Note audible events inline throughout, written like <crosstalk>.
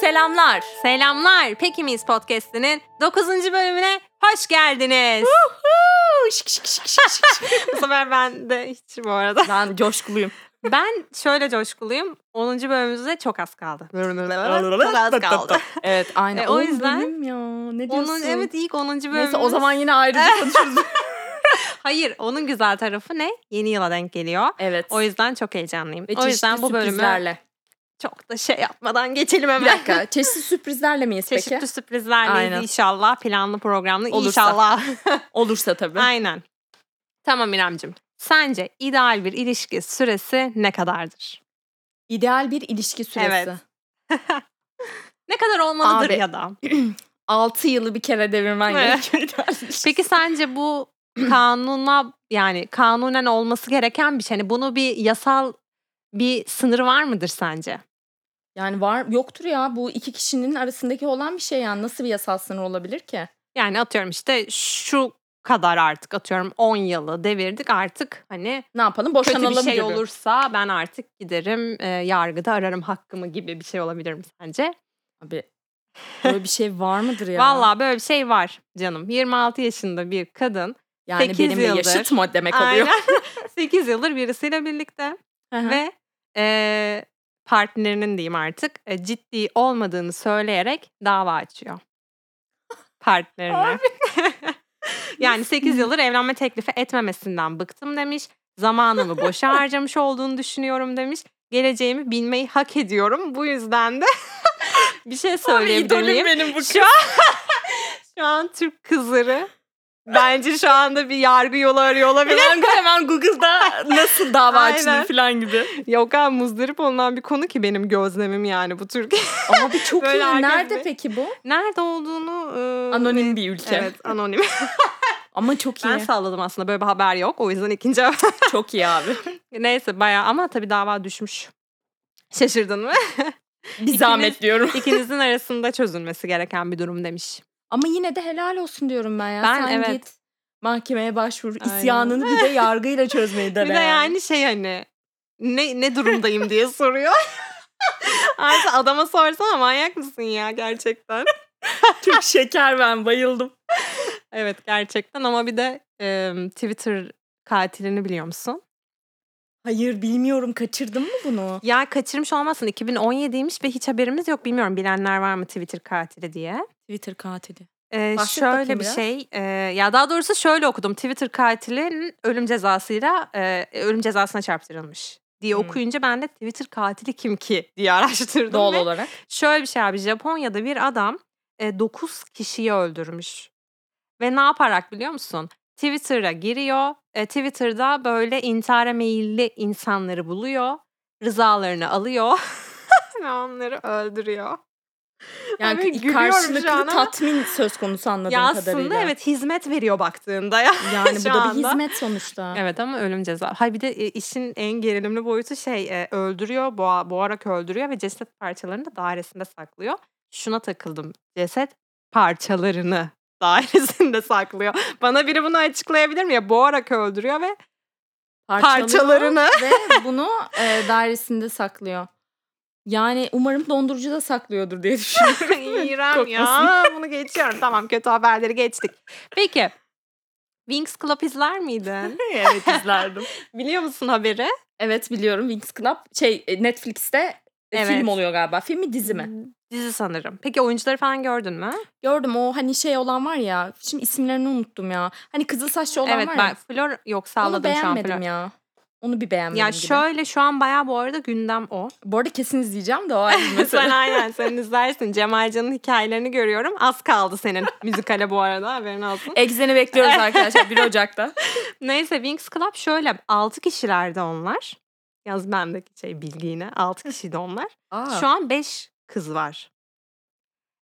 selamlar. Selamlar. Peki Miss Podcast'inin 9. bölümüne hoş geldiniz. Uhu, şık şık şık şık şık. bu sefer ben de hiç bu arada. <laughs> ben coşkuluyum. <laughs> Ben şöyle coşkuluyum. 10. bölümümüzde çok az kaldı. çok az kaldı. Evet aynen. E, o On yüzden- bölüm ya. Ne diyorsun? Onun, evet ilk 10. bölümümüz. Neyse o <laughs> zaman yine ayrıca konuşuruz. Hayır onun güzel tarafı ne? Yeni yıla denk geliyor. evet. O yüzden çok heyecanlıyım. Ve o yüzden çeşitli bu bölümü sürprizlerle. çok da şey yapmadan geçelim hemen. Bir <laughs> dakika. Çeşitli sürprizlerle miyiz Çeşitli peki? sürprizlerle Aynen. inşallah planlı programlı Olursa. <laughs> inşallah. Olursa tabii. Aynen. Tamam İremcim. Sence ideal bir ilişki süresi ne kadardır? İdeal bir ilişki süresi. Evet. Ne kadar olmalıdır Abi. ya da? 6 yılı bir kere devirmen Evet. gerekiyor ideal <laughs> ilişki. Peki sence bu kanuna yani kanunen olması gereken bir şey. Hani bunu bir yasal bir sınırı var mıdır sence? Yani var yoktur ya bu iki kişinin arasındaki olan bir şey yani nasıl bir yasal sınır olabilir ki? Yani atıyorum işte şu kadar artık atıyorum 10 yılı devirdik artık hani Ne yapalım kötü boşanalım bir şey gibi. olursa ben artık giderim e, yargıda ararım hakkımı gibi bir şey olabilir mi sence? Abi böyle bir şey var mıdır ya? Vallahi böyle bir şey var canım. 26 yaşında bir kadın yani sekiz benimle yıldır. yaşıt mı demek oluyor. <laughs> 8 yıldır birisiyle birlikte Aha. ve e, partnerinin diyeyim artık e, ciddi olmadığını söyleyerek dava açıyor. Partnerine. Abi. <laughs> yani 8 yıldır evlenme teklifi etmemesinden bıktım demiş. Zamanımı boşa harcamış olduğunu düşünüyorum demiş. Geleceğimi bilmeyi hak ediyorum. Bu yüzden de <laughs> bir şey söyleyebilir miyim? benim bu Şu an, şu an Türk kızları bence şu anda bir yargı yolu arıyor olabilir. hemen, hemen Google'da <laughs> nasıl dava Aynen. açılır falan gibi. Yok abi muzdarip olunan bir konu ki benim gözlemim yani bu Türkiye. Abi çok Böyle iyi. herkes Nerede bir- peki bu? <laughs> Nerede olduğunu... e, Anonim bir ülke. Evet anonim. Ama <laughs> çok iyi. ben salladım aslında böyle bir haber yok. O yüzden ikinci haber. <laughs> çok iyi abi. <laughs> Neyse bayağı ama tabii dava düşmüş. Şaşırdın mı? Bir zahmet diyorum. <laughs> İkinizin arasında çözülmesi gereken bir durum demiş. Ama yine de helal olsun diyorum ben ya. Ben Sen evet. git mahkemeye başvur. Aynen. İsyanını bir de yargıyla <laughs> çözmeyi dene. Bir de yani şey hani ne, ne durumdayım <laughs> diye soruyor. Artık adama sorsana manyak mısın ya gerçekten. Çok şeker ben bayıldım. Evet gerçekten ama bir de e, Twitter katilini biliyor musun? Hayır bilmiyorum kaçırdım mı bunu? Ya kaçırmış olmasın 2017'ymiş ve hiç haberimiz yok bilmiyorum bilenler var mı Twitter katili diye. Twitter katili. E, Bahset bakayım şöyle bir biraz. şey e, ya daha doğrusu şöyle okudum Twitter katilinin ölüm cezasıyla e, ölüm cezasına çarptırılmış diye Hmm. okuyunca ben de Twitter katili kim ki diye araştırdım. Doğal ve <laughs> olarak. Şöyle bir şey abi Japonya'da bir adam 9 kişiyi öldürmüş. Ve ne yaparak biliyor musun? Twitter'a giriyor. E, Twitter'da böyle intihara meyilli insanları buluyor. Rızalarını alıyor. <laughs> ve onları öldürüyor. Yani Abi ilk gülüyorum karşılıklı şu an ama- tatmin söz konusu anladığım ya aslında kadarıyla. evet hizmet veriyor baktığında ya. şu Yani <laughs> bu da bir anda. hizmet sonuçta. Evet ama ölüm ceza. Hay bir de e, işin en gerilimli boyutu şey e, öldürüyor, boğa, boğarak öldürüyor ve ceset parçalarını da dairesinde saklıyor. Şuna takıldım. Ceset parçalarını <laughs> dairesinde saklıyor. Bana biri bunu açıklayabilir mi ya? Boğarak öldürüyor <laughs> ve Parçalıyor parçalarını. <laughs> Ve bunu e, dairesinde saklıyor. Yani umarım dondurucuda saklıyordur diye düşünüyorum. İğrem ya. <laughs> Bunu geçiyorum. Tamam kötü haberleri geçtik. Peki. Wings Club izler miydin? <laughs> evet izlerdim. <laughs> Biliyor musun haberi? <laughs> Evet biliyorum Wings Club şey e, Netflix'te e, Evet. film oluyor galiba. Filmi dizi mi? Dizi sanırım. Peki oyuncuları falan gördün mü? Hmm, Gördüm o hani şey olan var ya. Şimdi isimlerini unuttum ya. Hani kızıl saçlı olan evet var ben <laughs> ya. Flor yok Onu sağladım şu an Flor. beğenmedim ya. Onu bir beğenmedim Ya gibi. şöyle şu an bayağı bu arada gündem o. Bu arada kesin izleyeceğim de o ayrı <laughs> bir <laughs> mesele. sen aynen sen izlersin. Cemalcan'ın hikayelerini görüyorum. Az kaldı senin <laughs> müzikale bu arada haberin olsun. Egzeni <laughs> bekliyoruz arkadaşlar 1 Ocak'ta. E, Neyse Wings Club şöyle 6 kişilerdi onlar. Yalnız bendeki şey bilgi yine 6 kişiydi onlar. Şu Şu an an 5 kız var.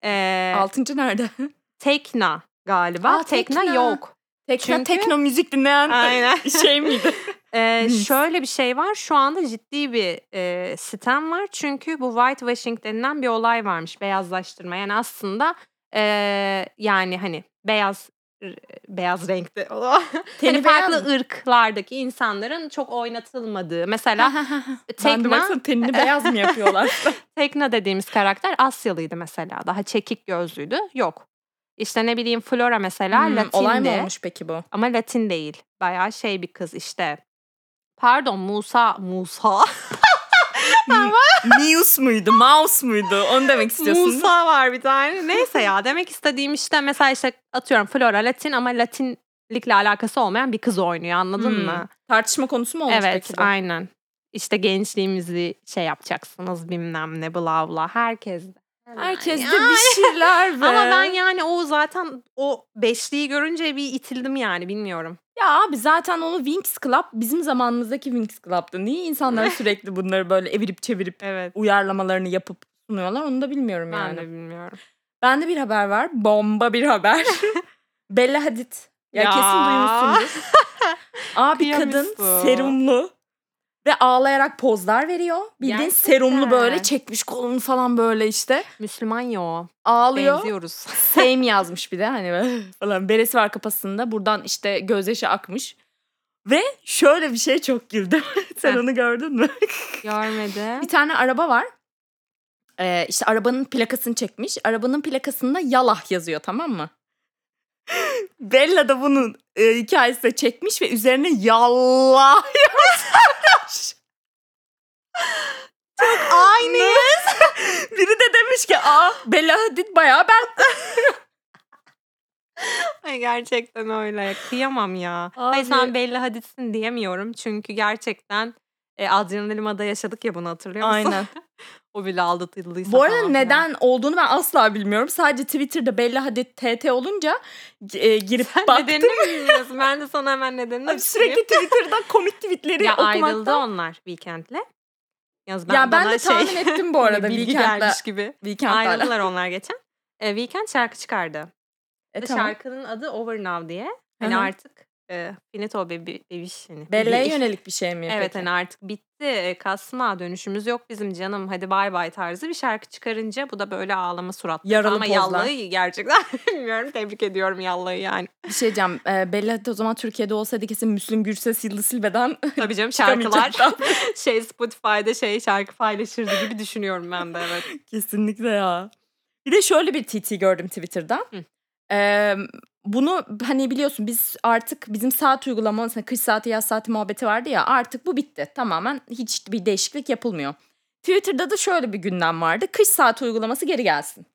Ee, altıncı nerede? <laughs> Tekna galiba. Aa, tekna. Tekna. yok. Tekno, Çünkü- tekno müzik dinleyen Aynen. <laughs> şey miydi? Ee, Nice. şöyle bir şey var. Şu anda ciddi bir e, sitem var. Çünkü bu whitewashing denilen bir olay varmış. Beyazlaştırma. Yani aslında e, yani hani beyaz r- beyaz renkte Teni <laughs> hani beyaz farklı ırklardaki insanların çok oynatılmadığı. Mesela <laughs> ben <laughs> de Tekna, baksana tenini beyaz <laughs> mı yapıyorlar? Tekna dediğimiz karakter Asyalıydı mesela. Daha çekik gözlüydü. Yok. İşte ne bileyim Flora mesela Hmm, Latindi. olay mı olmuş peki <laughs> bu? Ama Latin değil. Bayağı şey bir kız işte. Pardon Musa, Musa. News muydu? Mouse muydu? Onu demek istiyorsun. Musa var bir tane. Neyse ya demek istediğim işte mesela işte atıyorum Flora Latin ama Latinlikle alakası olmayan bir kız oynuyor anladın Hmm. mı? Tartışma konusu mu olmuş evet peki bu? aynen. İşte gençliğimizi şey yapacaksınız bilmem ne bla bla herkes. Herkeste Ay, bir <laughs> şeyler be. Ama ben yani o zaten o beşliği görünce bir itildim yani bilmiyorum. Ya abi zaten onu Winx Club bizim zamanımızdaki Winx Club'tı. Niye <laughs> insanlar sürekli bunları böyle evirip çevirip Evet. uyarlamalarını yapıp sunuyorlar onu da bilmiyorum Ben yani. de bilmiyorum. Bende bir haber var. Bomba <laughs> bir haber. Bella Hadid. Ya, Ya. kesin duymuşsundur. <laughs> Abi kadın Kıyamışsın. serumlu ve ağlayarak pozlar veriyor. Bildiğin Gerçekten. serumlu böyle çekmiş kolunu falan böyle işte. Müslüman ya o. Ağlıyor. <laughs> <laughs> Benziyoruz. Same yazmış bir de hani böyle <laughs> falan beresi var kafasında. Buradan işte gözyaşı akmış. Ve şöyle bir şey çok güldüm. <laughs> Sen Heh. onu gördün mü? Görmedim. bir tane araba var. Ee, işte arabanın plakasını çekmiş. Arabanın plakasında yalah yazıyor tamam mı? <laughs> Bella da bunun e, hikayesini çekmiş ve üzerine yallah <laughs> yazmış. Çok aynıyız. <laughs> Biri de demiş ki aa Bella Hadid bayağı ben Ay gerçekten öyle. Kıyamam ya. Abi. Ay sen belli haditsin diyemiyorum. Çünkü gerçekten e, Adrian Lima'da yaşadık ya bunu hatırlıyor musun? <laughs> Aynen. <laughs> o bile aldatıldıysa Bu arada falan neden olduğunu ben asla bilmiyorum. Sadece Twitter'da Bella Hadid TT olunca e, girip filan. <laughs> Sen baktım. nedenini bilmiyorsun. Ben de sana hemen nedenini Abi Sürekli Twitter'dan komik tweetleri ya ayrıldı okumaktan. onlar Weekend'le. Yaz, ya ben bana de tahmin şey, <laughs> ettim bu arada. bilgi Weekend'da. gelmiş gibi. Weekend'da. ala- Ayrıldılar onlar geçen. E, Weekend şarkı çıkardı. E, Ve tamam. Şarkının adı Over Now diye. Hani Aha. artık e, Finito Baby, Babiş. hani Bella'ya babiş. yönelik bir şey mi? Evet peki? hani artık bitti e, kasma dönüşümüz yok bizim canım hadi bay bay tarzı bir şarkı çıkarınca bu da böyle ağlama suratlı. Yaralı Ama pozlar. Yallah'ı gerçekten <laughs> bilmiyorum tebrik ediyorum Yallah'ı <laughs> yani. Bir şey diyeceğim. E, Bella Hadid o zaman Türkiye'de olsaydı kesin Müslüm Gürses Yıldız Silbe'den Tabii canım şarkılar <laughs> çıkamayacaktı. <laughs> şey Spotify'da şey şarkı paylaşırdı gibi düşünüyorum ben de evet. <laughs> Kesinlikle ya. Bir de şöyle bir TT gördüm Twitter'dan. Hı. Ee, bunu hani biliyorsun biz artık bizim saat uygulama mesela kış saati yaz saati muhabbeti vardı ya artık bu bitti. Tamamen hiç bir değişiklik yapılmıyor. Twitter'da da şöyle bir gündem vardı. Kış saati uygulaması geri gelsin.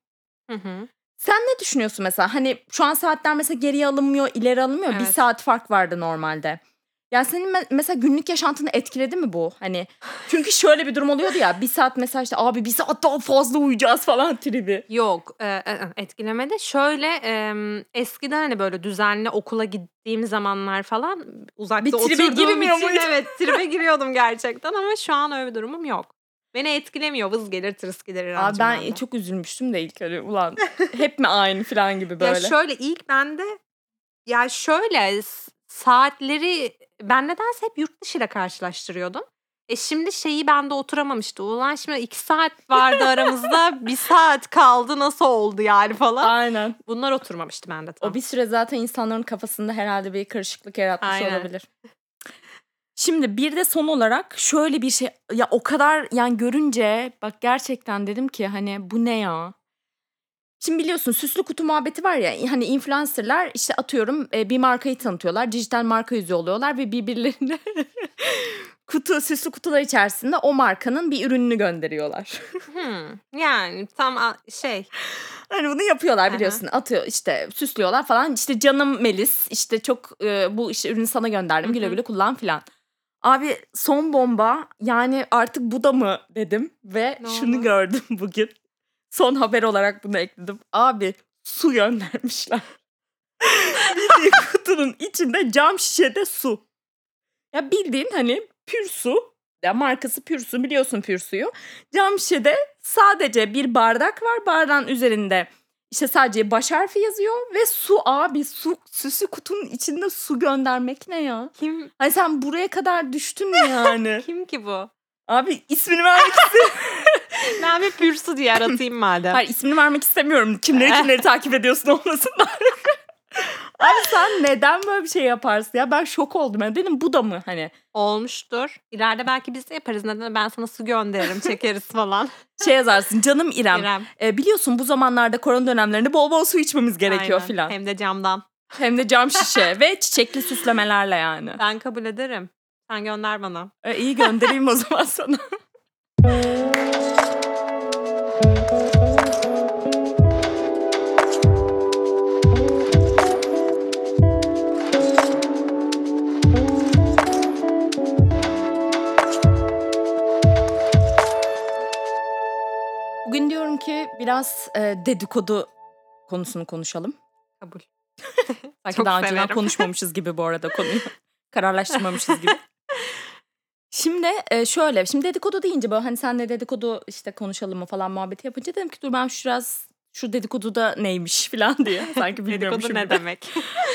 Hı hı. Sen ne düşünüyorsun mesela? Hani şu an saatler mesela geriye alınmıyor, ileri alınmıyor. Bir Evet. saat fark vardı normalde. Ya senin me- mesela günlük yaşantını etkiledi mi bu? Hani çünkü şöyle bir durum oluyordu ya. Bir saat mesela işte abi bir saat daha fazla uyuyacağız falan tribi. Yok e, e, e, etkilemedi. Şöyle e, eskiden hani böyle düzenli okula gittiğim zamanlar falan uzakta Bir tribe oturduğum girmiyor için muydun? evet <laughs> tribe giriyordum gerçekten ama şu an öyle bir durumum yok. Beni etkilemiyor vız gelir tırıs gelir. Abi inancım ben bende. çok üzülmüştüm de ilk öyle ulan hep mi aynı falan gibi Ya böyle. şöyle ilk bende ya şöyle s- saatleri ben nedense hep yurt dışı ile karşılaştırıyordum. E şimdi şeyi bende oturamamıştı. Ulan şimdi iki saat vardı aramızda bir saat kaldı nasıl oldu yani falan. <laughs> Aynen. Bunlar oturmamıştı bende tam. O bir süre zaten insanların kafasında herhalde bir karışıklık yaratmış Aynen. olabilir. Şimdi bir de son olarak şöyle bir şey ya o kadar yani görünce bak gerçekten dedim ki hani bu ne ya? Şimdi biliyorsun süslü kutu muhabbeti var ya hani influencerlar işte atıyorum e, bir markayı tanıtıyorlar. Dijital marka yüzü oluyorlar ve birbirlerine <laughs> kutu süslü kutular içerisinde o markanın bir ürününü gönderiyorlar. Hmm, yani tam a- şey Hani bunu yapıyorlar Aha. biliyorsun. Atıyor işte süslüyorlar falan. İşte canım Melis işte çok e, bu işte ürünü sana gönderdim. Güle Hı hı. güle kullan filan. Abi son bomba yani artık bu da mı dedim ve Ne şunu oldu? gördüm <laughs> bugün. Son haber olarak bunu ekledim. Abi su göndermişler. <laughs> <laughs> bildiğin kutunun içinde cam şişede su. Ya bildiğin hani pür su. Ya markası pür su biliyorsun pür suyu. Cam şişede sadece bir bardak var. Bardağın üzerinde işte sadece baş harfi yazıyor ve su abi su süsü kutunun içinde su göndermek ne ya? <laughs> kim Hani sen buraya kadar düştün mü yani? kim ki bu? <laughs> abi ismini vermek Ben bir pürsu diye <laughs> aratayım madem. Hayır ismini vermek istemiyorum. Kimleri kimleri takip ediyorsun olmasın da. <laughs> Abi sen neden böyle bir şey yaparsın ya? Ben şok oldum. Yani dedim bu da mı hani? Olmuştur. İleride belki biz de yaparız. Neden ben sana su gönderirim çekeriz <laughs> falan. Şey yazarsın canım İrem. İrem. E, biliyorsun bu zamanlarda korona dönemlerinde bol bol su içmemiz gerekiyor Aynen. filan. Hem de camdan. Hem de cam şişe ve çiçekli süslemelerle yani. Ben kabul ederim. Sen gönder bana. E, iyi göndereyim <laughs> o zaman sana. Bugün diyorum ki biraz e, dedikodu konusunu konuşalım. Kabul. Belki Çok daha önceden severim. konuşmamışız gibi bu arada <laughs> konuyu. Kararlaştırmamışız gibi. Şimdi e, şöyle, şimdi dedikodu deyince böyle hani senle dedikodu işte konuşalım mı falan muhabbeti yapınca dedim ki dur ben şu biraz şu dedikoduda neymiş <laughs> falan diye sanki bilmiyormuşum Dedikodu gibi ne <laughs> demek?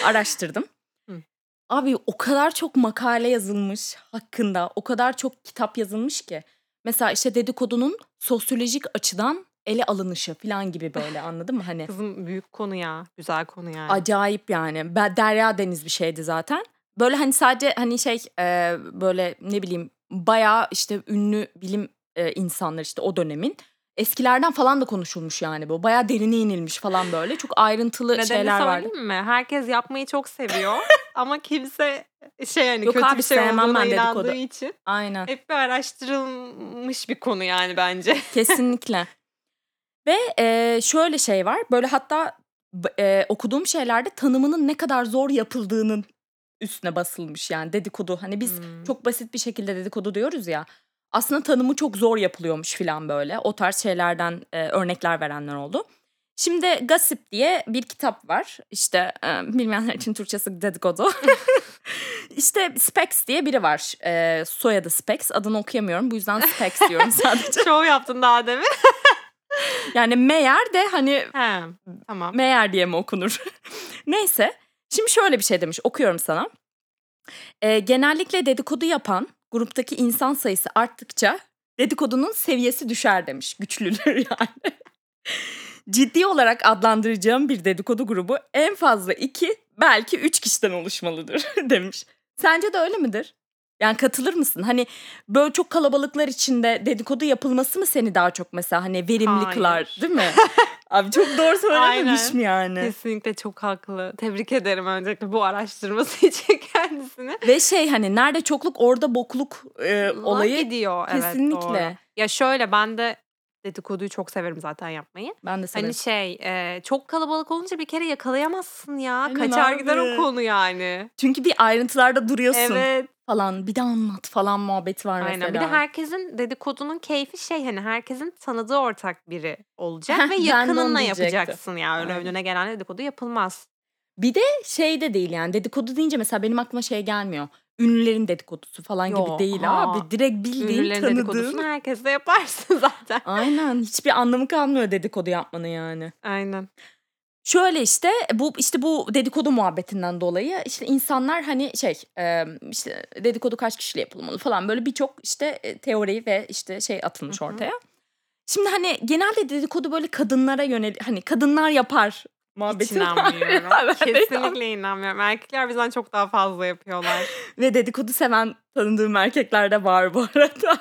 araştırdım. Hı. Abi o kadar çok makale yazılmış hakkında, o kadar çok kitap yazılmış ki. Mesela işte dedikodunun sosyolojik açıdan ele alınışı falan gibi böyle anladın mı? Hani Kızım büyük konu ya. Güzel konu yani. Acayip yani. Ben, derya deniz bir şeydi zaten. Böyle hani sadece hani şey e, böyle ne bileyim bayağı işte ünlü bilim e, insanları işte o dönemin eskilerden falan da konuşulmuş yani bu. Bayağı derine inilmiş falan böyle. Çok ayrıntılı Nedeni şeyler vardı. söyleyeyim mi? Herkes yapmayı çok <laughs> seviyor ama kimse şey yani Yok kötü abi, bir şey sevmem olduğuna ben inandığı dedikodu. için Aynen. hep bir araştırılmış bir konu yani bence. <laughs> Kesinlikle. Ve e, şöyle şey var. Böyle hatta b- e, okuduğum şeylerde tanımının ne kadar zor yapıldığının üstüne basılmış yani dedikodu. Hani biz Hmm. çok basit bir şekilde dedikodu diyoruz ya. Aslında tanımı çok zor yapılıyormuş filan böyle. O tarz şeylerden e, örnekler verenler oldu. Şimdi Gossip diye bir kitap var. İşte e, bilmeyenler için Türkçesi dedikodu. <laughs> işte Specs diye biri var. E, soyadı Specs. Adını okuyamıyorum. Bu yüzden Specs diyorum sadece. Şov yaptın daha demin. Yani meğer de hani He, tamam. meğer diye mi okunur? <laughs> Neyse. Şimdi şöyle bir şey demiş. Okuyorum sana. Ee, genellikle dedikodu yapan gruptaki insan sayısı arttıkça dedikodunun seviyesi düşer demiş. Güçlüdür <laughs> yani. Ciddi olarak adlandıracağım bir dedikodu grubu en fazla iki belki üç kişiden oluşmalıdır <laughs> demiş. Sence de öyle midir? Yani katılır mısın? Hani böyle çok kalabalıklar içinde dedikodu yapılması mı seni daha çok mesela hani verimli Hayır. kılar değil mi? Abi çok doğru söylememiş Aynen. mi yani? Kesinlikle çok haklı. Tebrik ederim öncelikle bu araştırması <laughs> için kendisini. Ve şey hani nerede çokluk orada bokluk e, Hak olayı ediyor. evet, kesinlikle. doğru. Ya şöyle ben de dedikoduyu çok severim zaten yapmayı. ben de severim. Hani şey e, çok kalabalık olunca bir kere yakalayamazsın ya. Aynen Kaçar gider abi. o konu yani. Çünkü bir ayrıntılarda duruyorsun Evet. falan bir de anlat falan muhabbeti var mesela. Aynen. Bir de herkesin dedikodunun keyfi şey hani herkesin tanıdığı ortak biri Heh, olacak ve ben de onu yakınınla diyecektim. yapacaksın ya. Öyle Aynen. önüne gelen dedikodu yapılmaz. şey de değil yani dedikodu deyince mesela benim aklıma şey gelmiyor. Ünlülerin dedikodusu falan gibi Yok, değil aa. abi. Direkt bildiğin Ünlülerin dedikodusunu tanıdığın. herkes de yaparsın <laughs> zaten. Aynen hiçbir anlamı kalmıyor dedikodu yapmanın yani. Aynen. Şöyle işte e, bu işte bu dedikodu muhabbetinden dolayı işte insanlar hani şey e, işte dedikodu kaç kişiyle yapılmalı falan böyle birçok işte e, teori ve işte şey atılmış Hı hı. ortaya. Şimdi hani genelde dedikodu böyle kadınlara yönel hani kadınlar yapar Hiç muhabbeti <laughs> var. inanmıyorum. <laughs> Ben de Kesinlikle inanmıyorum. Erkekler bizden çok daha fazla <laughs> yapıyorlar. ve dedikodu seven tanıdığım erkekler de var bu arada.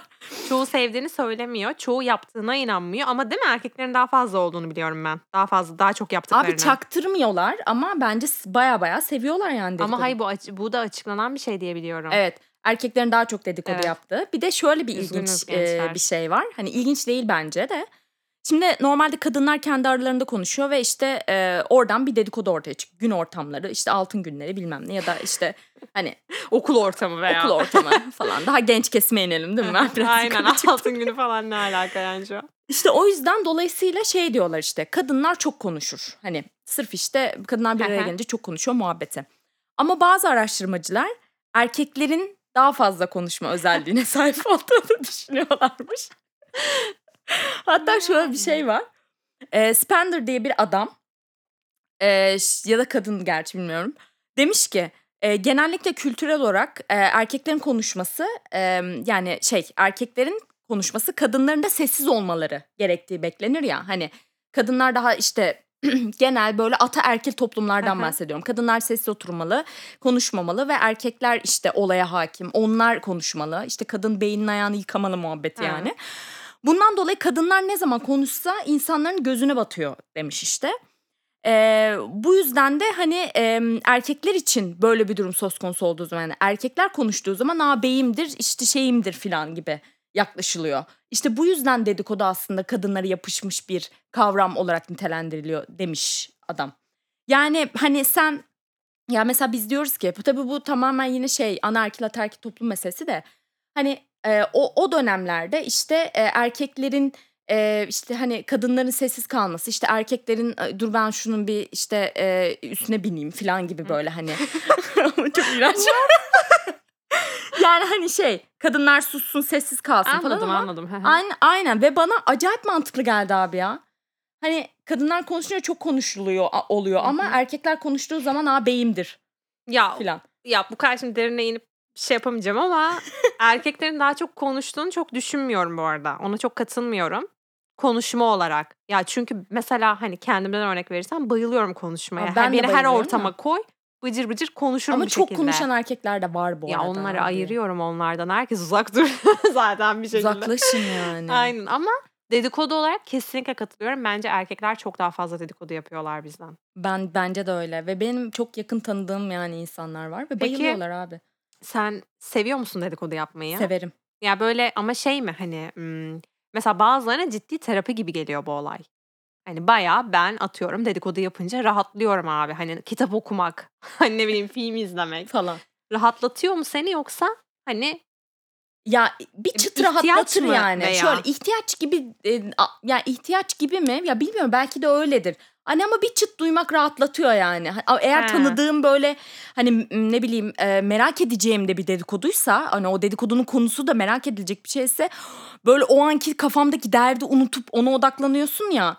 çoğu sevdiğini söylemiyor. Çoğu yaptığına inanmıyor. Ama değil mi erkeklerin daha fazla olduğunu biliyorum ben. Daha fazla, daha çok yaptıklarını. Abi çaktırmıyorlar ama bence s- baya baya seviyorlar yani dedikodu. Ama hayır bu, aç- bu da açıklanan bir şey diye biliyorum. <laughs> Evet. Erkeklerin daha çok dedikodu Evet. yaptığı. Bir de şöyle bir Üzgünüz ilginç e, gençler. bir şey var. Hani ilginç değil bence de. Şimdi normalde kadınlar kendi aralarında konuşuyor ve işte e, oradan bir dedikodu ortaya çıkıyor. Gün ortamları, işte altın günleri bilmem ne ya da işte hani <laughs> Okul ortamı veya. okul ortamı falan. Daha genç kesime inelim değil <laughs> mi? Ben biraz Aynen yukarı çıktım. altın günü falan ne alaka yani şu an. İşte o yüzden dolayısıyla şey diyorlar işte kadınlar çok konuşur. Hani sırf işte kadınlar bir araya Aha. gelince çok konuşuyor muhabbeti. Ama bazı araştırmacılar erkeklerin daha fazla konuşma özelliğine <laughs> sahip olduğunu düşünüyorlarmış. Hatta şöyle bir şey var. Ee, Spender diye bir adam ee, ş- ya da kadın gerçi bilmiyorum. Demiş ki e, genellikle kültürel olarak e, erkeklerin konuşması e, yani şey erkeklerin konuşması kadınların da sessiz olmaları gerektiği beklenir ya. Hani kadınlar daha işte <clears throat> genel böyle ataerkil toplumlardan Aha. bahsediyorum. Kadınlar sessiz oturmalı, konuşmamalı ve erkekler işte olaya hakim. Onlar konuşmalı. İşte kadın beynin ayağını yıkamalı muhabbeti Ha. yani. Bundan dolayı kadınlar ne zaman konuşsa insanların gözüne batıyor demiş işte. Ee, bu yüzden de hani e, erkekler için böyle bir durum söz konusu olduğu zaman yani erkekler konuştuğu zaman "Aa beyimdir işte şeyimdir filan gibi yaklaşılıyor. İşte bu yüzden dedikodu aslında kadınlara yapışmış bir kavram olarak nitelendiriliyor demiş adam. Yani hani sen ya mesela biz diyoruz ki bu tabii bu tamamen yine şey anaerkil ataerkil toplum meselesi de hani e, o o dönemlerde işte e, erkeklerin e, işte hani kadınların sessiz kalması işte erkeklerin "Ay, dur ben şunun bir işte e, üstüne bineyim falan gibi böyle hani <laughs> Ama çok iğrenç. <laughs> yani hani şey kadınlar sussun sessiz kalsın falan Anladım ama anladım. Hı hı. Aynen, aynen ve bana acayip mantıklı geldi abi ya. Hani kadınlar konuşunca çok konuşuluyor a- oluyor Hı ama hı. erkekler konuştuğu zaman aa beyimdir Ya filan. ya bu kadar şimdi derine inip bir şey yapamayacağım <laughs> ama erkeklerin daha çok konuştuğunu çok düşünmüyorum bu arada. Ona çok katılmıyorum. Konuşma olarak. Ya çünkü mesela hani kendimden örnek verirsem bayılıyorum konuşmaya. Aa, ben ben de her, beni her bayılıyorum ortama koy bıcır bıcır konuşurum Ama bir çok şekilde. konuşan erkekler de var bu Ya arada. onları abi. ayırıyorum onlardan. Herkes uzak dur <laughs> zaten bir şekilde. <laughs> Uzaklaşın <laughs> yani. Aynen ama dedikodu olarak kesinlikle katılıyorum. Bence erkekler çok daha fazla dedikodu yapıyorlar bizden. Ben bence de öyle ve benim çok yakın tanıdığım yani insanlar var ve bayılıyorlar abi. Sen seviyor musun dedikodu yapmayı? Severim. Ya böyle ama şey mi hani hmm, mesela bazılarına ciddi terapi gibi geliyor bu olay. Hani bayağı ben atıyorum dedikodu yapınca rahatlıyorum abi. Hani kitap okumak, <laughs> hani ne bileyim film izlemek. falan. Rahatlatıyor mu seni yoksa hani Ya bir çıt E, ihtiyaç rahatlatır mı yani. veya? Şöyle ihtiyaç gibi e, a- ya ihtiyaç gibi mi? Ya bilmiyorum belki de öyledir. Hani ama bir çıt duymak rahatlatıyor yani. Ha- Eğer He. tanıdığım böyle hani m- ne bileyim e, merak edeceğim de bir dedikoduysa hani o dedikodunun konusu da merak edilecek bir şeyse böyle o anki kafamdaki derdi unutup ona odaklanıyorsun ya.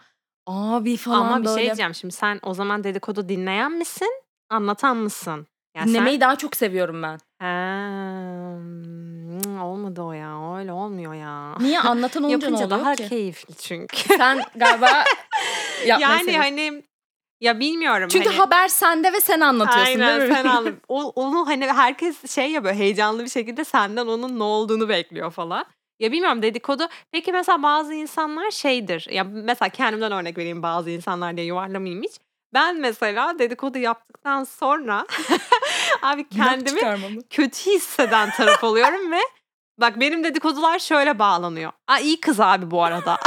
Abi falan ama bir böyle. şey diyeceğim şimdi sen o zaman dedikodu dinleyen misin? Anlatan mısın? Ya sen- Dinlemeyi daha çok seviyorum ben. Ha, hmm, olmadı o ya. Öyle olmuyor ya. Niye anlatan olunca <laughs> ne Yapınca oluyor daha ki? keyifli çünkü. Sen galiba <laughs> yapmayı yani seviyorsun. hani ya bilmiyorum. Çünkü hani, haber sende ve sen anlatıyorsun Aynen değil mi? <laughs> sen anladın. O- Onu hani herkes şey ya böyle heyecanlı bir şekilde senden onun ne olduğunu bekliyor falan. Ya bilmiyorum dedikodu. Peki mesela bazı insanlar şeydir. Ya mesela kendimden örnek vereyim bazı insanlar diye yuvarlamayayım hiç. Ben mesela dedikodu yaptıktan sonra <laughs> abi kendimi <laughs> kötü hisseden taraf oluyorum ve bak benim dedikodular şöyle bağlanıyor. Aa iyi kız abi bu arada.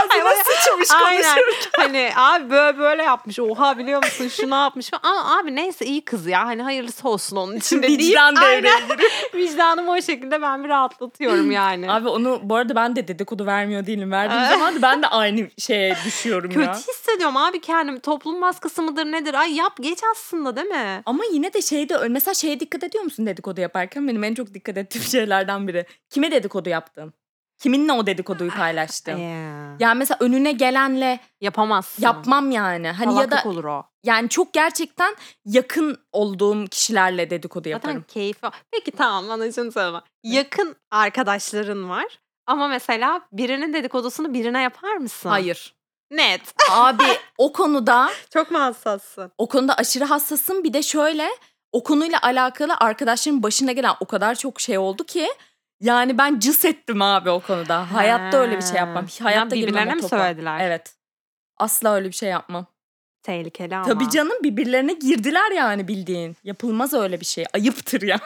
Ağzına sıçmış Aynen. konuşuyor. hani abi böyle böyle yapmış. Oha biliyor musun şunu yapmış. falan. Ama abi neyse iyi kız ya. Hani hayırlısı olsun onun için de deyip. Vicdan Aynen. devreye Vicdanımı o şekilde ben bir rahatlatıyorum yani. Abi onu bu arada ben de dedikodu vermiyor değilim. Verdiğim Ay. zaman da ben de aynı <laughs> şeye düşüyorum Kötü ya. hissediyorum abi kendim. Toplum baskısı mıdır nedir? Ay yap geç aslında değil mi? Ama yine de şeyde mesela şeye dikkat ediyor musun dedikodu yaparken? Benim en çok dikkat ettiğim <laughs> şeylerden biri. Kime dedikodu yaptın? Kiminle o dedikoduyu paylaştın? Ee, Ya mesela önüne gelenle yapamazsın. yapmam yani. Hani ya da Salaklık olur o. yani çok gerçekten yakın olduğum kişilerle dedikodu Zaten yaparım. keyfi. Peki tamam bana şunu söyleme. Yakın arkadaşların var. Ama mesela birinin dedikodusunu birine yapar mısın? Hayır. <laughs> Net. Abi o konuda Çok mu hassassın? O konuda aşırı hassasım. Bir de şöyle o konuyla alakalı arkadaşların başına gelen o kadar çok şey oldu ki yani ben cıs ettim abi o konuda. Hayatta öyle bir şey yapmam. Ha. Hayatta Ya girmem birbirlerine o mi topa. söylediler? Evet. Asla öyle bir şey yapmam. Tehlikeli ama. Tabii canım birbirlerine girdiler yani bildiğin. Yapılmaz öyle bir şey. <laughs> Ayıptır ya.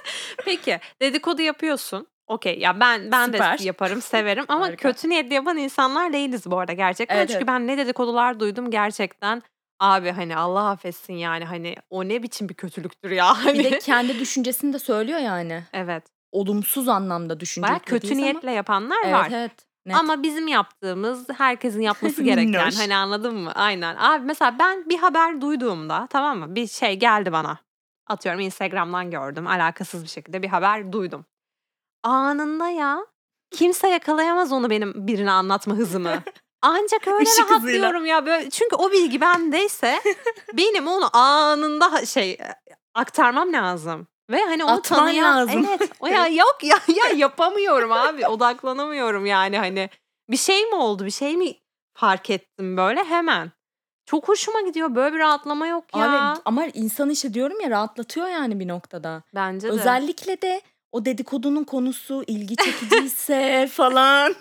<laughs> Peki dedikodu yapıyorsun. Okey ya ben ben Süper. de yaparım severim ama Harika. kötü niyetli yapan insanlar değiliz bu arada gerçekten. Evet, Çünkü evet. ben ne dedikodular duydum gerçekten. Abi hani Allah affetsin yani hani o ne biçim bir kötülüktür ya <laughs> hani. bir de kendi düşüncesini de söylüyor yani. evet. Olumsuz anlamda düşünce. Baya kötü niyetle yapanlar Evet var. evet. Net. Ama bizim yaptığımız herkesin <laughs> yapması gereken Minnoş. hani anladın mı? Aynen. Abi mesela ben bir haber duyduğumda tamam mı? Bir şey geldi bana. Atıyorum Instagram'dan gördüm. Alakasız bir şekilde bir haber duydum. Anında ya kimse yakalayamaz onu benim birine anlatma <laughs> hızımı. Ancak öyle Işık hızıyla. rahatlıyorum ya. Böyle, çünkü o bilgi <laughs> bendeyse benim onu anında ha- şey e, aktarmam lazım. Ve hani onu Atman tanıyan, lazım. Evet. O <laughs> ya yok ya, ya yapamıyorum abi. Odaklanamıyorum yani hani. Bir şey mi oldu? Bir şey mi fark ettim böyle hemen. Çok hoşuma gidiyor. Böyle bir rahatlama yok ya. Abi, ama insan işte diyorum ya rahatlatıyor yani bir noktada. Bence de. Özellikle de o dedikodunun konusu ilgi çekiciyse <laughs> falan.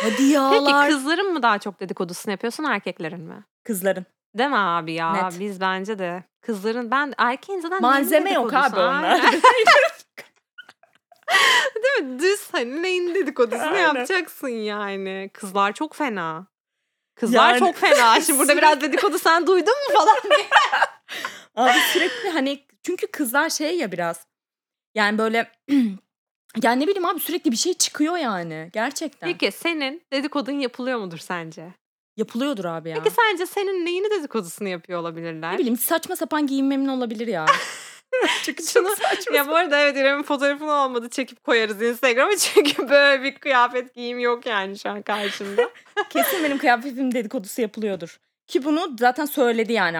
Hadi Peki yağlar. kızların mı daha çok dedikodusunu yapıyorsun erkeklerin mi? Kızların. Değil mi abi ya? Net. Biz bence de kızların ben erkeğin zaten neyin Malzeme yok abi dedikodusu? onlar. Aynen. <laughs> Değil mi? <laughs> Düz hani neyin dedikodusunu Aynen. yapacaksın yani. Kızlar çok fena. Kızlar Yani- çok fena. <laughs> Şimdi burada biraz dedikodu sen duydun mu falan diye. Abi sürekli hani çünkü kızlar şey ya biraz. Yani böyle <clears throat> yani ne bileyim abi sürekli bir şey çıkıyor yani. Gerçekten. Peki senin dedikodun yapılıyor mudur sence? Yapılıyordur abi ya. Peki sence senin neyini dedikodusunu yapıyor olabilirler? <laughs> Ne bileyim saçma sapan giyinmemin <laughs> olabilir ya. Çünkü çok Şunu- <laughs> saçma. Ya bu arada evet İrem'in fotoğrafını olmadı çekip koyarız Instagram'a <laughs> çünkü böyle bir kıyafet giyim yok yani şu an karşımda. Kesin benim kıyafetim dedikodusu yapılıyordur. Ki bunu zaten söyledi yani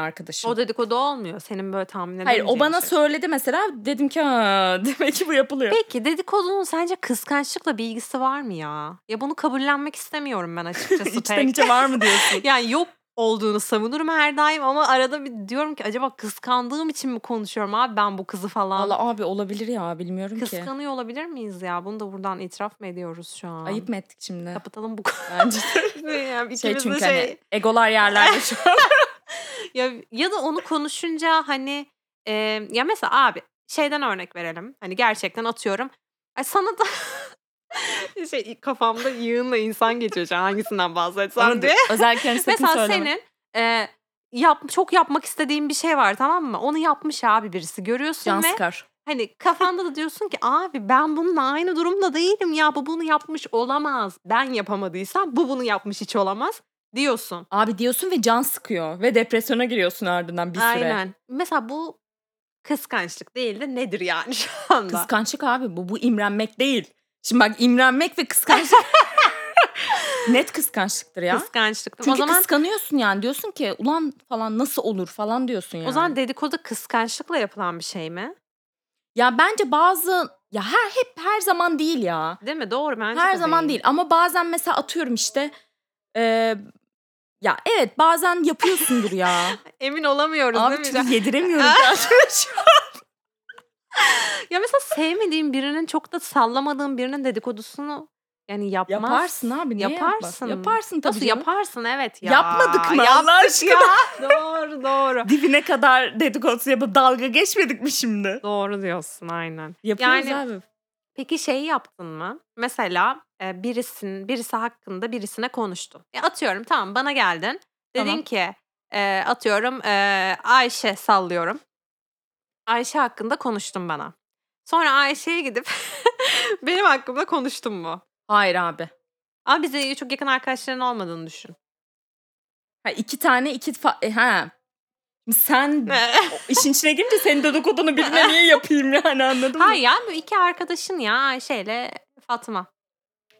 <laughs> arkadaşım. o dedikodu olmuyor senin böyle tahmin Hayır o edemeyeceğin bana şey. söyledi mesela dedim ki ha <laughs> demek ki bu yapılıyor. Peki dedikodunun sence kıskançlıkla bir ilgisi var mı ya? Ya bunu kabullenmek istemiyorum <laughs> ben açıkçası İçten pek. içe var <laughs> mı diyorsun? Yani yok olduğunu savunurum her daim ama arada bir diyorum ki acaba kıskandığım için mi konuşuyorum abi ben bu kızı falan. Valla abi olabilir ya bilmiyorum ki. Kıskanıyor olabilir miyiz ya? Bunu da buradan itiraf mı ediyoruz şu an? Ayıp mı ettik şimdi? Kapatalım bu konuyu. <laughs> Bence de. Yani <laughs> şey ikimiz de çünkü şey- hani egolar <laughs> yerlerde şu an. ya ya da onu konuşunca hani e, ya mesela abi şeyden örnek verelim. Hani gerçekten atıyorum. Ay sana da <laughs> şey kafamda yığınla insan geçiyor şu an hangisinden bahsetsem Ama diye. <laughs> Özellikle hani sakın Mesela söyleme. senin e, yap, çok yapmak istediğin bir şey var tamam mı? Onu yapmış abi birisi görüyorsun Can ve sıkar. hani kafanda da diyorsun ki abi ben bununla aynı durumda değilim ya bu bunu yapmış olamaz. Ben yapamadıysam bu bunu yapmış hiç olamaz diyorsun. Abi diyorsun ve can sıkıyor. Ve depresyona giriyorsun ardından bir süre. Aynen. Mesela bu kıskançlık değil de nedir yani <laughs> şu anda? Kıskançlık abi bu. Bu imrenmek değil. Şimdi bak imrenmek <laughs> ve kıskançlık. Net kıskançlıktır ya. Kıskançlık. Çünkü o zaman kıskanıyorsun yani. Diyorsun ki ulan falan nasıl olur falan diyorsun yani. o zaman dedikodu kıskançlıkla yapılan bir şey mi? Ya bence bazı ya her hep her zaman değil ya. Değil mi? Doğru bence. her de zaman değil. ama bazen mesela atıyorum işte e, ya evet bazen <laughs> yapıyorsundur ya. Emin olamıyoruz Abi değil mi? çünkü yediremiyorum. <laughs> Ya mesela sevmediğin birinin çok da sallamadığın birinin dedikodusunu yani yapmaz. yaparsın abi niye Yaparsın. yaparsın. Yaparsın tabii. Nasıl canım. yaparsın evet ya. Yapmadık mı Yap- Allah aşkına? Ya, <laughs> doğru doğru. Dibine kadar dedikodusu yapıp dalga geçmedik mi şimdi? doğru diyorsun aynen. Yapıyoruz Yani- abi. Peki şey yaptın mı? Mesela e, birisin, birisi hakkında birisine konuştun. Ya atıyorum tamam bana geldin. Dedin Tamam. ki e, atıyorum e, Ayşe sallıyorum. Ayşe hakkında konuştun bana. Sonra Ayşe'ye gidip <laughs> benim hakkımda konuştun mu? Hayır abi. Ama bize çok yakın arkadaşların olmadığını düşün. Ha, iki tane iki fa- e, ha. Sen işin içine girince senin dedikodunu birine niye yapayım yani anladın mı? <laughs> Hayır ya bu iki arkadaşın ya Ayşe'yle Fatma.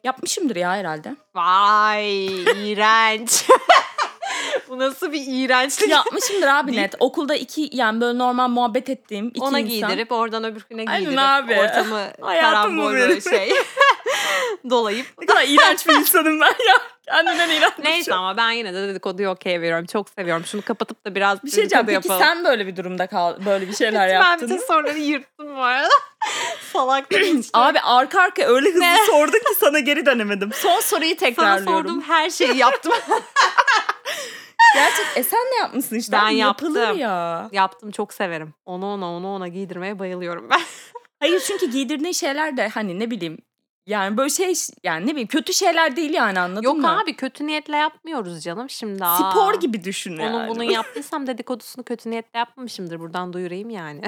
Yapmışımdır ya <laughs> herhalde. Vay iğrenç. <laughs> bu nasıl bir iğrençlik. Yapmışımdır abi Değil net. Okulda iki yani böyle normal muhabbet ettiğim iki Ona insan. giydirip oradan öbür güne Aynen giydirip abi. ortamı <laughs> Hayatım bu benim. karambolu <laughs> şey dolayıp. Ne kadar iğrenç bir insanım ben ya. Kendimden iğrenç. şey Neyse ama ben yine de dedikoduyu okey veriyorum. Çok seviyorum. Şunu kapatıp da biraz Bir şey diyeceğim. dedikodu Peki yapalım. sen böyle bir durumda kal, böyle bir şeyler ben yaptın. bütün mı? soruları yırttım bu arada. <laughs> Salak <clears throat> Abi arka arka öyle hızlı Ne? sordun ki sana geri dönemedim. Son soruyu <laughs> Sana tekrarlıyorum. sorduğum her şeyi yaptım. Gerçek e sen ne yapmışsın işte? Ben Abi Yapılır yaptım. ya. yaptım çok severim. Onu ona onu ona giydirmeye bayılıyorum ben. <laughs> Hayır çünkü giydirdiğin şeyler de hani ne bileyim yani böyle şey yani ne bileyim kötü şeyler değil yani anladın Yok mı? abi kötü niyetle yapmıyoruz canım şimdi. Aa, Spor gibi düşün Onun yani. <laughs> bunun yaptıysam dedikodusunu kötü niyetle yapmamışımdır. Buradan duyurayım <laughs> yani.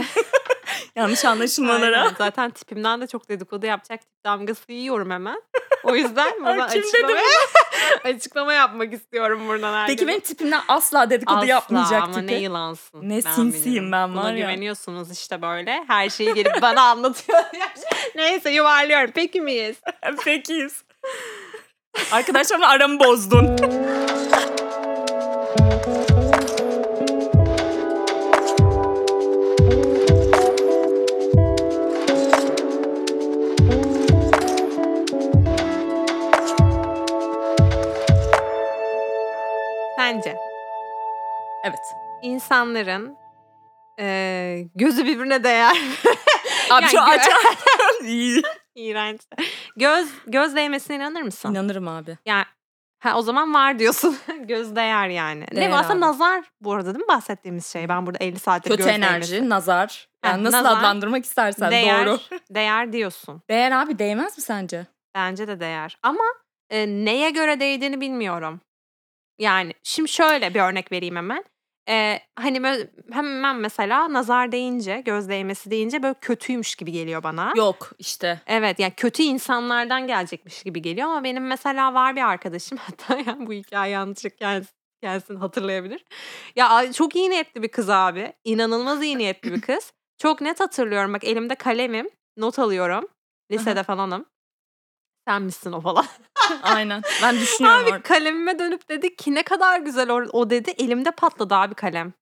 Yanlış anlaşılmalara. <laughs> Aynen. Zaten tipimden de çok dedikodu yapacak tip damgası yiyorum hemen. O <laughs> yüzden Ay, buradan kim dedi açıklama, <laughs> açıklama yapmak istiyorum buradan herkese. Peki benim tipimden asla dedikodu Asla yapmayacak ama tipi. <laughs> ne yılansın. Ne Ben sinsiyim bilirim. ben var Buna ya. güveniyorsunuz işte böyle. Her şeyi gelip bana <laughs> anlatıyor. Neyse yuvarlıyorum. Peki miyiz? Pekiyiz. Arkadaşlarımla aramı bozdun. Bence Evet. insanların eee, gözü birbirine değer. <laughs> Abi şu Yani gö- aç. <laughs> İyi. İğrenç. Göz göz değmesine inanır mısın? İnanırım abi. Yani ha, o zaman var diyorsun. <laughs> göz değer yani. Değer ne varsa abi. nazar bu arada değil mi bahsettiğimiz şey? Ben burada 50 saattir Kötü göz enerji, değmesi. nazar. Ha, Yani nasıl nazar, adlandırmak istersen değer, doğru. <laughs> değer diyorsun. Değer abi değmez mi sence? Bence de değer. Ama e, neye göre değdiğini bilmiyorum. Yani şimdi şöyle bir örnek vereyim hemen. E, hani böyle, hemen mesela nazar deyince, göz değmesi deyince böyle kötüymüş gibi geliyor bana. Yok işte. Evet yani kötü insanlardan gelecekmiş gibi geliyor ama benim mesela var bir arkadaşım <laughs> hatta yani bu hikaye yanlışlık gelsin, gelsin hatırlayabilir. Ya ay, çok iyi niyetli bir kız abi. İnanılmaz iyi niyetli bir kız. Çok net hatırlıyorum bak elimde kalemim not alıyorum. Lisede falanım. Sen misin o falan. Aynen. Ben düşünüyorum. Abi <laughs> orada. kalemime dönüp dedi ki ne kadar güzel or- o dedi. Elimde patladı abi kalem.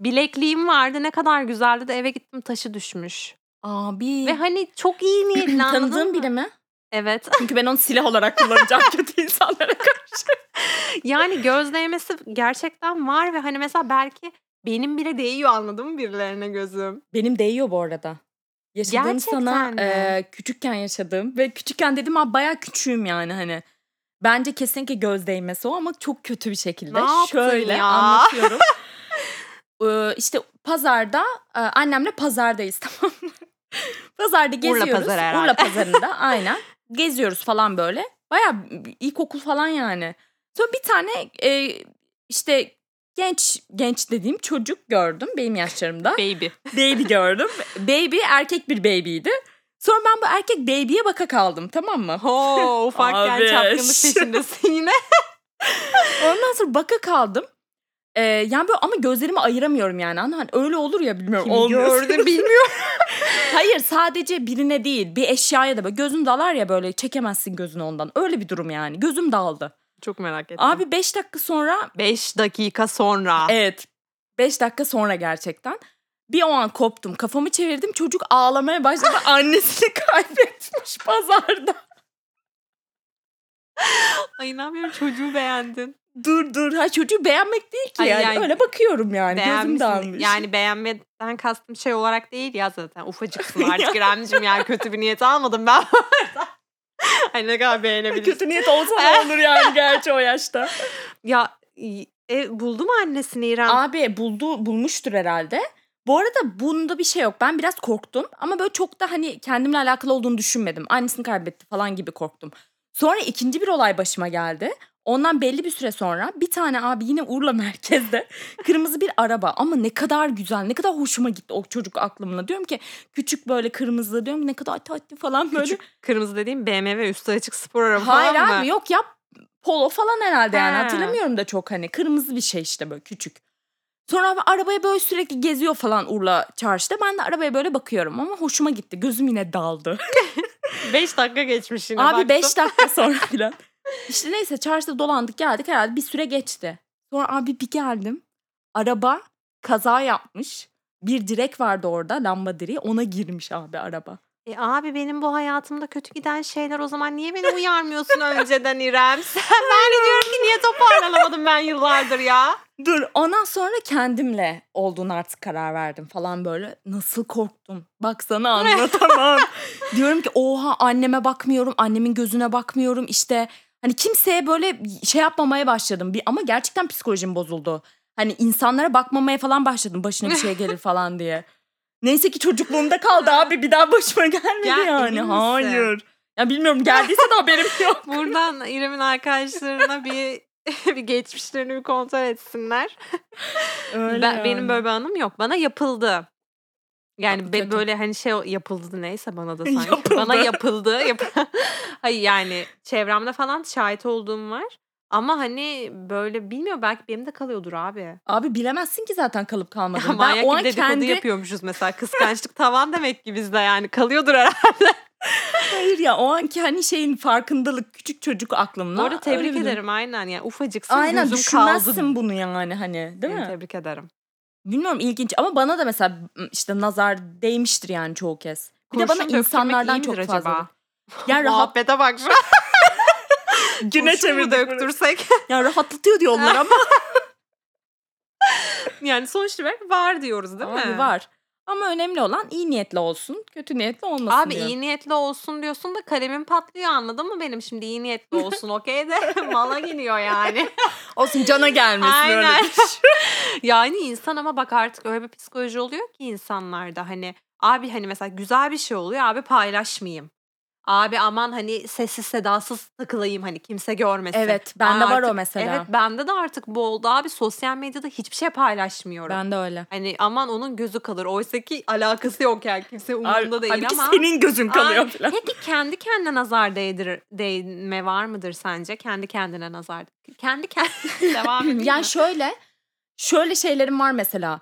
Bilekliğim vardı ne kadar güzeldi de eve gittim taşı düşmüş. Abi. <clears throat> Ve hani çok iyi niyetli anladın Tanıdığın mı? biri mi? Evet. Çünkü ben onu silah <laughs> olarak kullanacağım kötü insanlara karşı. Yani göz değmesi gerçekten var ve hani mesela belki benim bile değiyor anladın mı birilerine gözüm? Benim değiyor bu arada. Yaşadığım Gerçekten sana mi? e, küçükken yaşadığım ve küçükken dedim ha bayağı küçüğüm yani hani. Bence kesinlikle göz değmesi o ama çok kötü bir şekilde. Ne yaptın Şöyle ya? anlatıyorum. <laughs> ee, işte pazarda e, annemle pazardayız <laughs> tamam mı? Pazarda geziyoruz. pazarı herhalde. <laughs> Urla pazarında aynen. Geziyoruz falan böyle. Bayağı ilkokul falan yani. Sonra bir tane e, işte genç genç dediğim çocuk gördüm benim yaşlarımda Baby. baby gördüm. Baby erkek bir baby'ydi. Sonra ben bu erkek baby'ye baka kaldım tamam mı? Ho ufakken Abi, çapkınlık şu- peşindesin <laughs> yine. Ondan sonra baka kaldım. Ee, yani böyle ama gözlerimi ayıramıyorum yani. Anladın mı? Hani öyle olur ya bilmiyorum. Kimi olmuyor. <laughs> gördü bilmiyorum. Hayır sadece birine değil bir eşyaya da böyle gözün dalar ya böyle çekemezsin gözünü ondan. Öyle bir durum yani. Gözüm daldı. Çok merak ettim. E, Abi Abi 5 dakika sonra 5 dakika sonra. evet 5 dakika sonra gerçekten bir o an koptum kafamı çevirdim çocuk ağlamaya başladı annesini kaybetmiş pazarda. Ay inanmıyorum çocuğu beğendin. Dur dur. Ha çocuğu beğenmek değil ki Hayır, yani. yani- Öyle bakıyorum yani. Gözüm Beğenmişsin. dalmış. Yani beğenmeden kastım şey olarak değil ya zaten. <laughs> Ufacıksın artık İremciğim yani kötü bir niyet almadım ben. <laughs> Ay ne kadar beğenebilirsin. <laughs> kötü niyet olsa <laughs> da olur yani gerçi o yaşta. Ya e, buldu mu annesini İrem? Abi buldu bulmuştur herhalde. Bu arada bunda bir şey yok. Ben biraz korktum ama böyle çok da hani kendimle alakalı olduğunu düşünmedim. Annesini kaybetti falan gibi korktum. Sonra ikinci bir olay başıma geldi. Ondan belli bir süre sonra bir tane abi yine Urla <laughs> merkezde kırmızı bir araba ama ne kadar güzel ne kadar hoşuma gitti o çocuk aklımda. Diyorum ki küçük böyle kırmızı diyorum ki ne kadar tatlı falan böyle. Küçük kırmızı dediğim BMW üstü açık spor araba Hayır falan mı? abi yok yap polo falan herhalde yani Ha. hatırlamıyorum da çok hani kırmızı bir şey işte böyle küçük. Sonra abi arabaya böyle sürekli geziyor falan Urla çarşıda. Ben de arabaya böyle bakıyorum ama hoşuma gitti. Gözüm yine daldı. 5 dakika geçmiş yine abi 5 baktım. <laughs> dakika sonra falan. İşte neyse çarşıda dolandık geldik herhalde bir süre geçti. Sonra abi bir geldim. Araba kaza yapmış. Bir direk vardı orada lamba direği ona girmiş abi araba. E abi benim bu hayatımda kötü giden şeyler o zaman niye beni uyarmıyorsun önceden İrem? <laughs> Sen ben de diyorum ki niye toparlanamadım ben yıllardır ya? Dur ondan sonra kendimle olduğunu artık karar verdim falan böyle. Nasıl korktum. Bak sana anlatamam. <laughs> Diyorum ki oha anneme bakmıyorum. Annemin gözüne bakmıyorum. işte hani kimseye böyle şey yapmamaya başladım. Bir, ama gerçekten psikolojim bozuldu. Hani insanlara bakmamaya falan başladım. Başına <laughs> bir şey gelir falan diye. Neyse ki çocukluğumda kaldı abi. Bir daha başıma gelmedi Ya, emin yani. misin? Hayır. Ya bilmiyorum geldiyse de haberim yok. Buradan İrem'in arkadaşlarına bir <laughs> bir geçmişlerini bir kontrol etsinler. <laughs> Öyle Ben- Benim yani. böyle bir anım yok. Bana yapıldı. Yani Abi be- kötü. böyle hani şey yapıldı neyse bana <laughs> da sanki. Yapıldı. Bana yapıldı. Yap- <laughs> Hayır yani çevremde falan şahit olduğum var. Ama hani böyle bilmiyor belki benim de kalıyordur abi. Abi bilemezsin ki zaten kalıp kalmadığını. <laughs> Ben Manyak o gibi an dedikodu kendi yapıyormuşuz mesela. Kıskançlık tavan demek ki bizde yani. Kalıyordur herhalde. Hayır ya o anki hani şeyin farkındalık küçük çocuk aklımla. Bu arada öyle tebrik bir durum. ederim aynen. Yani ufacıksın Aynen gözüm kaldı. düşünmezsin bunu yani hani değil Yani mi? Tebrik ederim. Bilmiyorum ilginç ama bana da mesela m, işte nazar değmiştir yani çoğu kez. Bir de Kurşun bana döktürmek iyi insanlardan midir <laughs> çok acaba? <laughs> fazla. Yani rahat Muhabbete bak. Güne Kurşun mu çevirdik. bunu. döktürsek. <laughs> <laughs> Ya rahatlatıyor diyor onlar ama. yani sonuç olarak var diyoruz <laughs> değil Abi mi? var. Ama önemli olan iyi niyetli olsun. Kötü niyetli olmasın Abi diyor. iyi niyetli olsun diyorsun da kalemin patlıyor anladın mı benim şimdi iyi niyetli olsun <laughs> okey de mala geliyor yani. <laughs> Olsun cana gelmesin Aynen. öyle <laughs> bir Yani insan ama bak artık öyle bir psikoloji oluyor ki insanlarda hani abi hani mesela güzel bir şey oluyor abi paylaşmayayım. Abi aman hani sessiz sedasız takılayım hani kimse görmesin. Evet bende Aa, var o artık- mesela. Evet bende de artık bu oldu abi sosyal medyada hiçbir şey paylaşmıyorum. bende öyle. Hani aman onun gözü kalır. Oysa ki alakası yok yani kimse umurunda değil halbuki ama. senin gözün kalıyor Ay, falan. Peki kendi kendine nazar değdirir, değme var mıdır sence? Kendi kendine nazar. Kendi kendine <laughs> devam edeyim Yani mi? şöyle şöyle şeylerim var mesela.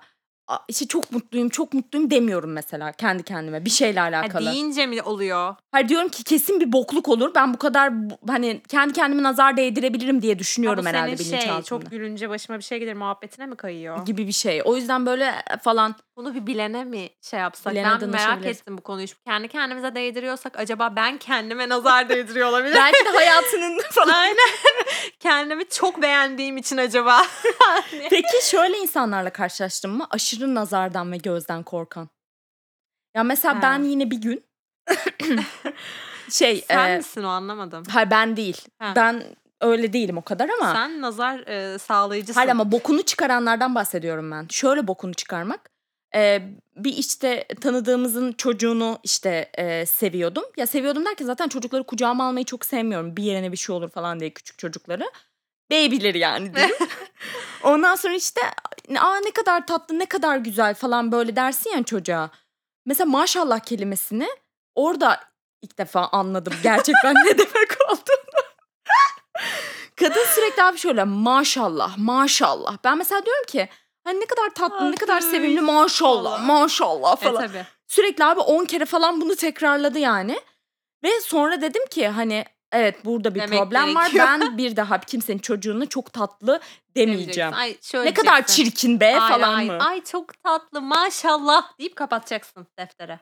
Aa, İşte çok mutluyum, çok mutluyum demiyorum mesela kendi kendime bir şeyle Ha, alakalı. deyince mi oluyor? Hayır diyorum ki kesin bir bokluk olur. Ben bu kadar bu- hani kendi kendime nazar değdirebilirim diye Ha, bu düşünüyorum herhalde senin şey bilinçaltımda. çok gülünce başıma bir şey gelir muhabbetine mi kayıyor? gibi bir şey. O yüzden böyle falan Bunu bir bilene mi şey yapsak? Bilene ben bir merak danışabiliriz. ettim bu konuyu. Şu Kendi kendimize değdiriyorsak acaba ben kendime nazar değdiriyor olabilir. belki de hayatının falan. <laughs> Aynen. Kendimi çok beğendiğim için <laughs> acaba. Peki şöyle insanlarla karşılaştın mı? Aşırı nazardan ve gözden korkan. Ya mesela Ha. ben yine bir <laughs> gün şey Sen e, misin o anlamadım. hayır ben değil. Ha. Ben öyle değilim o kadar ama. Sen nazar e, sağlayıcısın. Hayır ama bokunu çıkaranlardan bahsediyorum ben. Şöyle bokunu çıkarmak. Ee, bir işte tanıdığımızın çocuğunu işte e, seviyordum. Ya seviyordum derken zaten çocukları kucağıma almayı çok sevmiyorum. Bir yerine bir şey olur falan diye küçük çocukları. Babyleri <laughs> yani diyeyim. Ondan sonra işte aa ne kadar tatlı ne kadar güzel falan böyle dersin ya çocuğa. Mesela maşallah kelimesini orada ilk defa anladım gerçekten ne demek <laughs> olduğunu. Kadın sürekli abi şöyle maşallah maşallah. Ben mesela diyorum ki hani ne kadar tatlı ne kadar Ay, sevimli maşallah maşallah. maşallah E, falan. tabii. Sürekli abi 10 kere falan bunu tekrarladı yani. Ve sonra dedim ki hani evet burada bir Demek problem var. gerekiyor. Ben bir daha kimsenin çocuğunu çok tatlı Demeyeceksin. demeyeceğim. Ay, şöyle Ne kadar diyeceksin. çirkin be Ay, falan ay, mı? Ay çok tatlı maşallah deyip kapatacaksın deftere.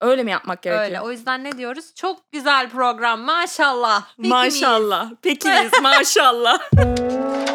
Öyle mi yapmak gerekiyor? Öyle o yüzden ne diyoruz? Çok güzel program maşallah. Peki miyiz? Maşallah. Peki miyiz? Maşallah.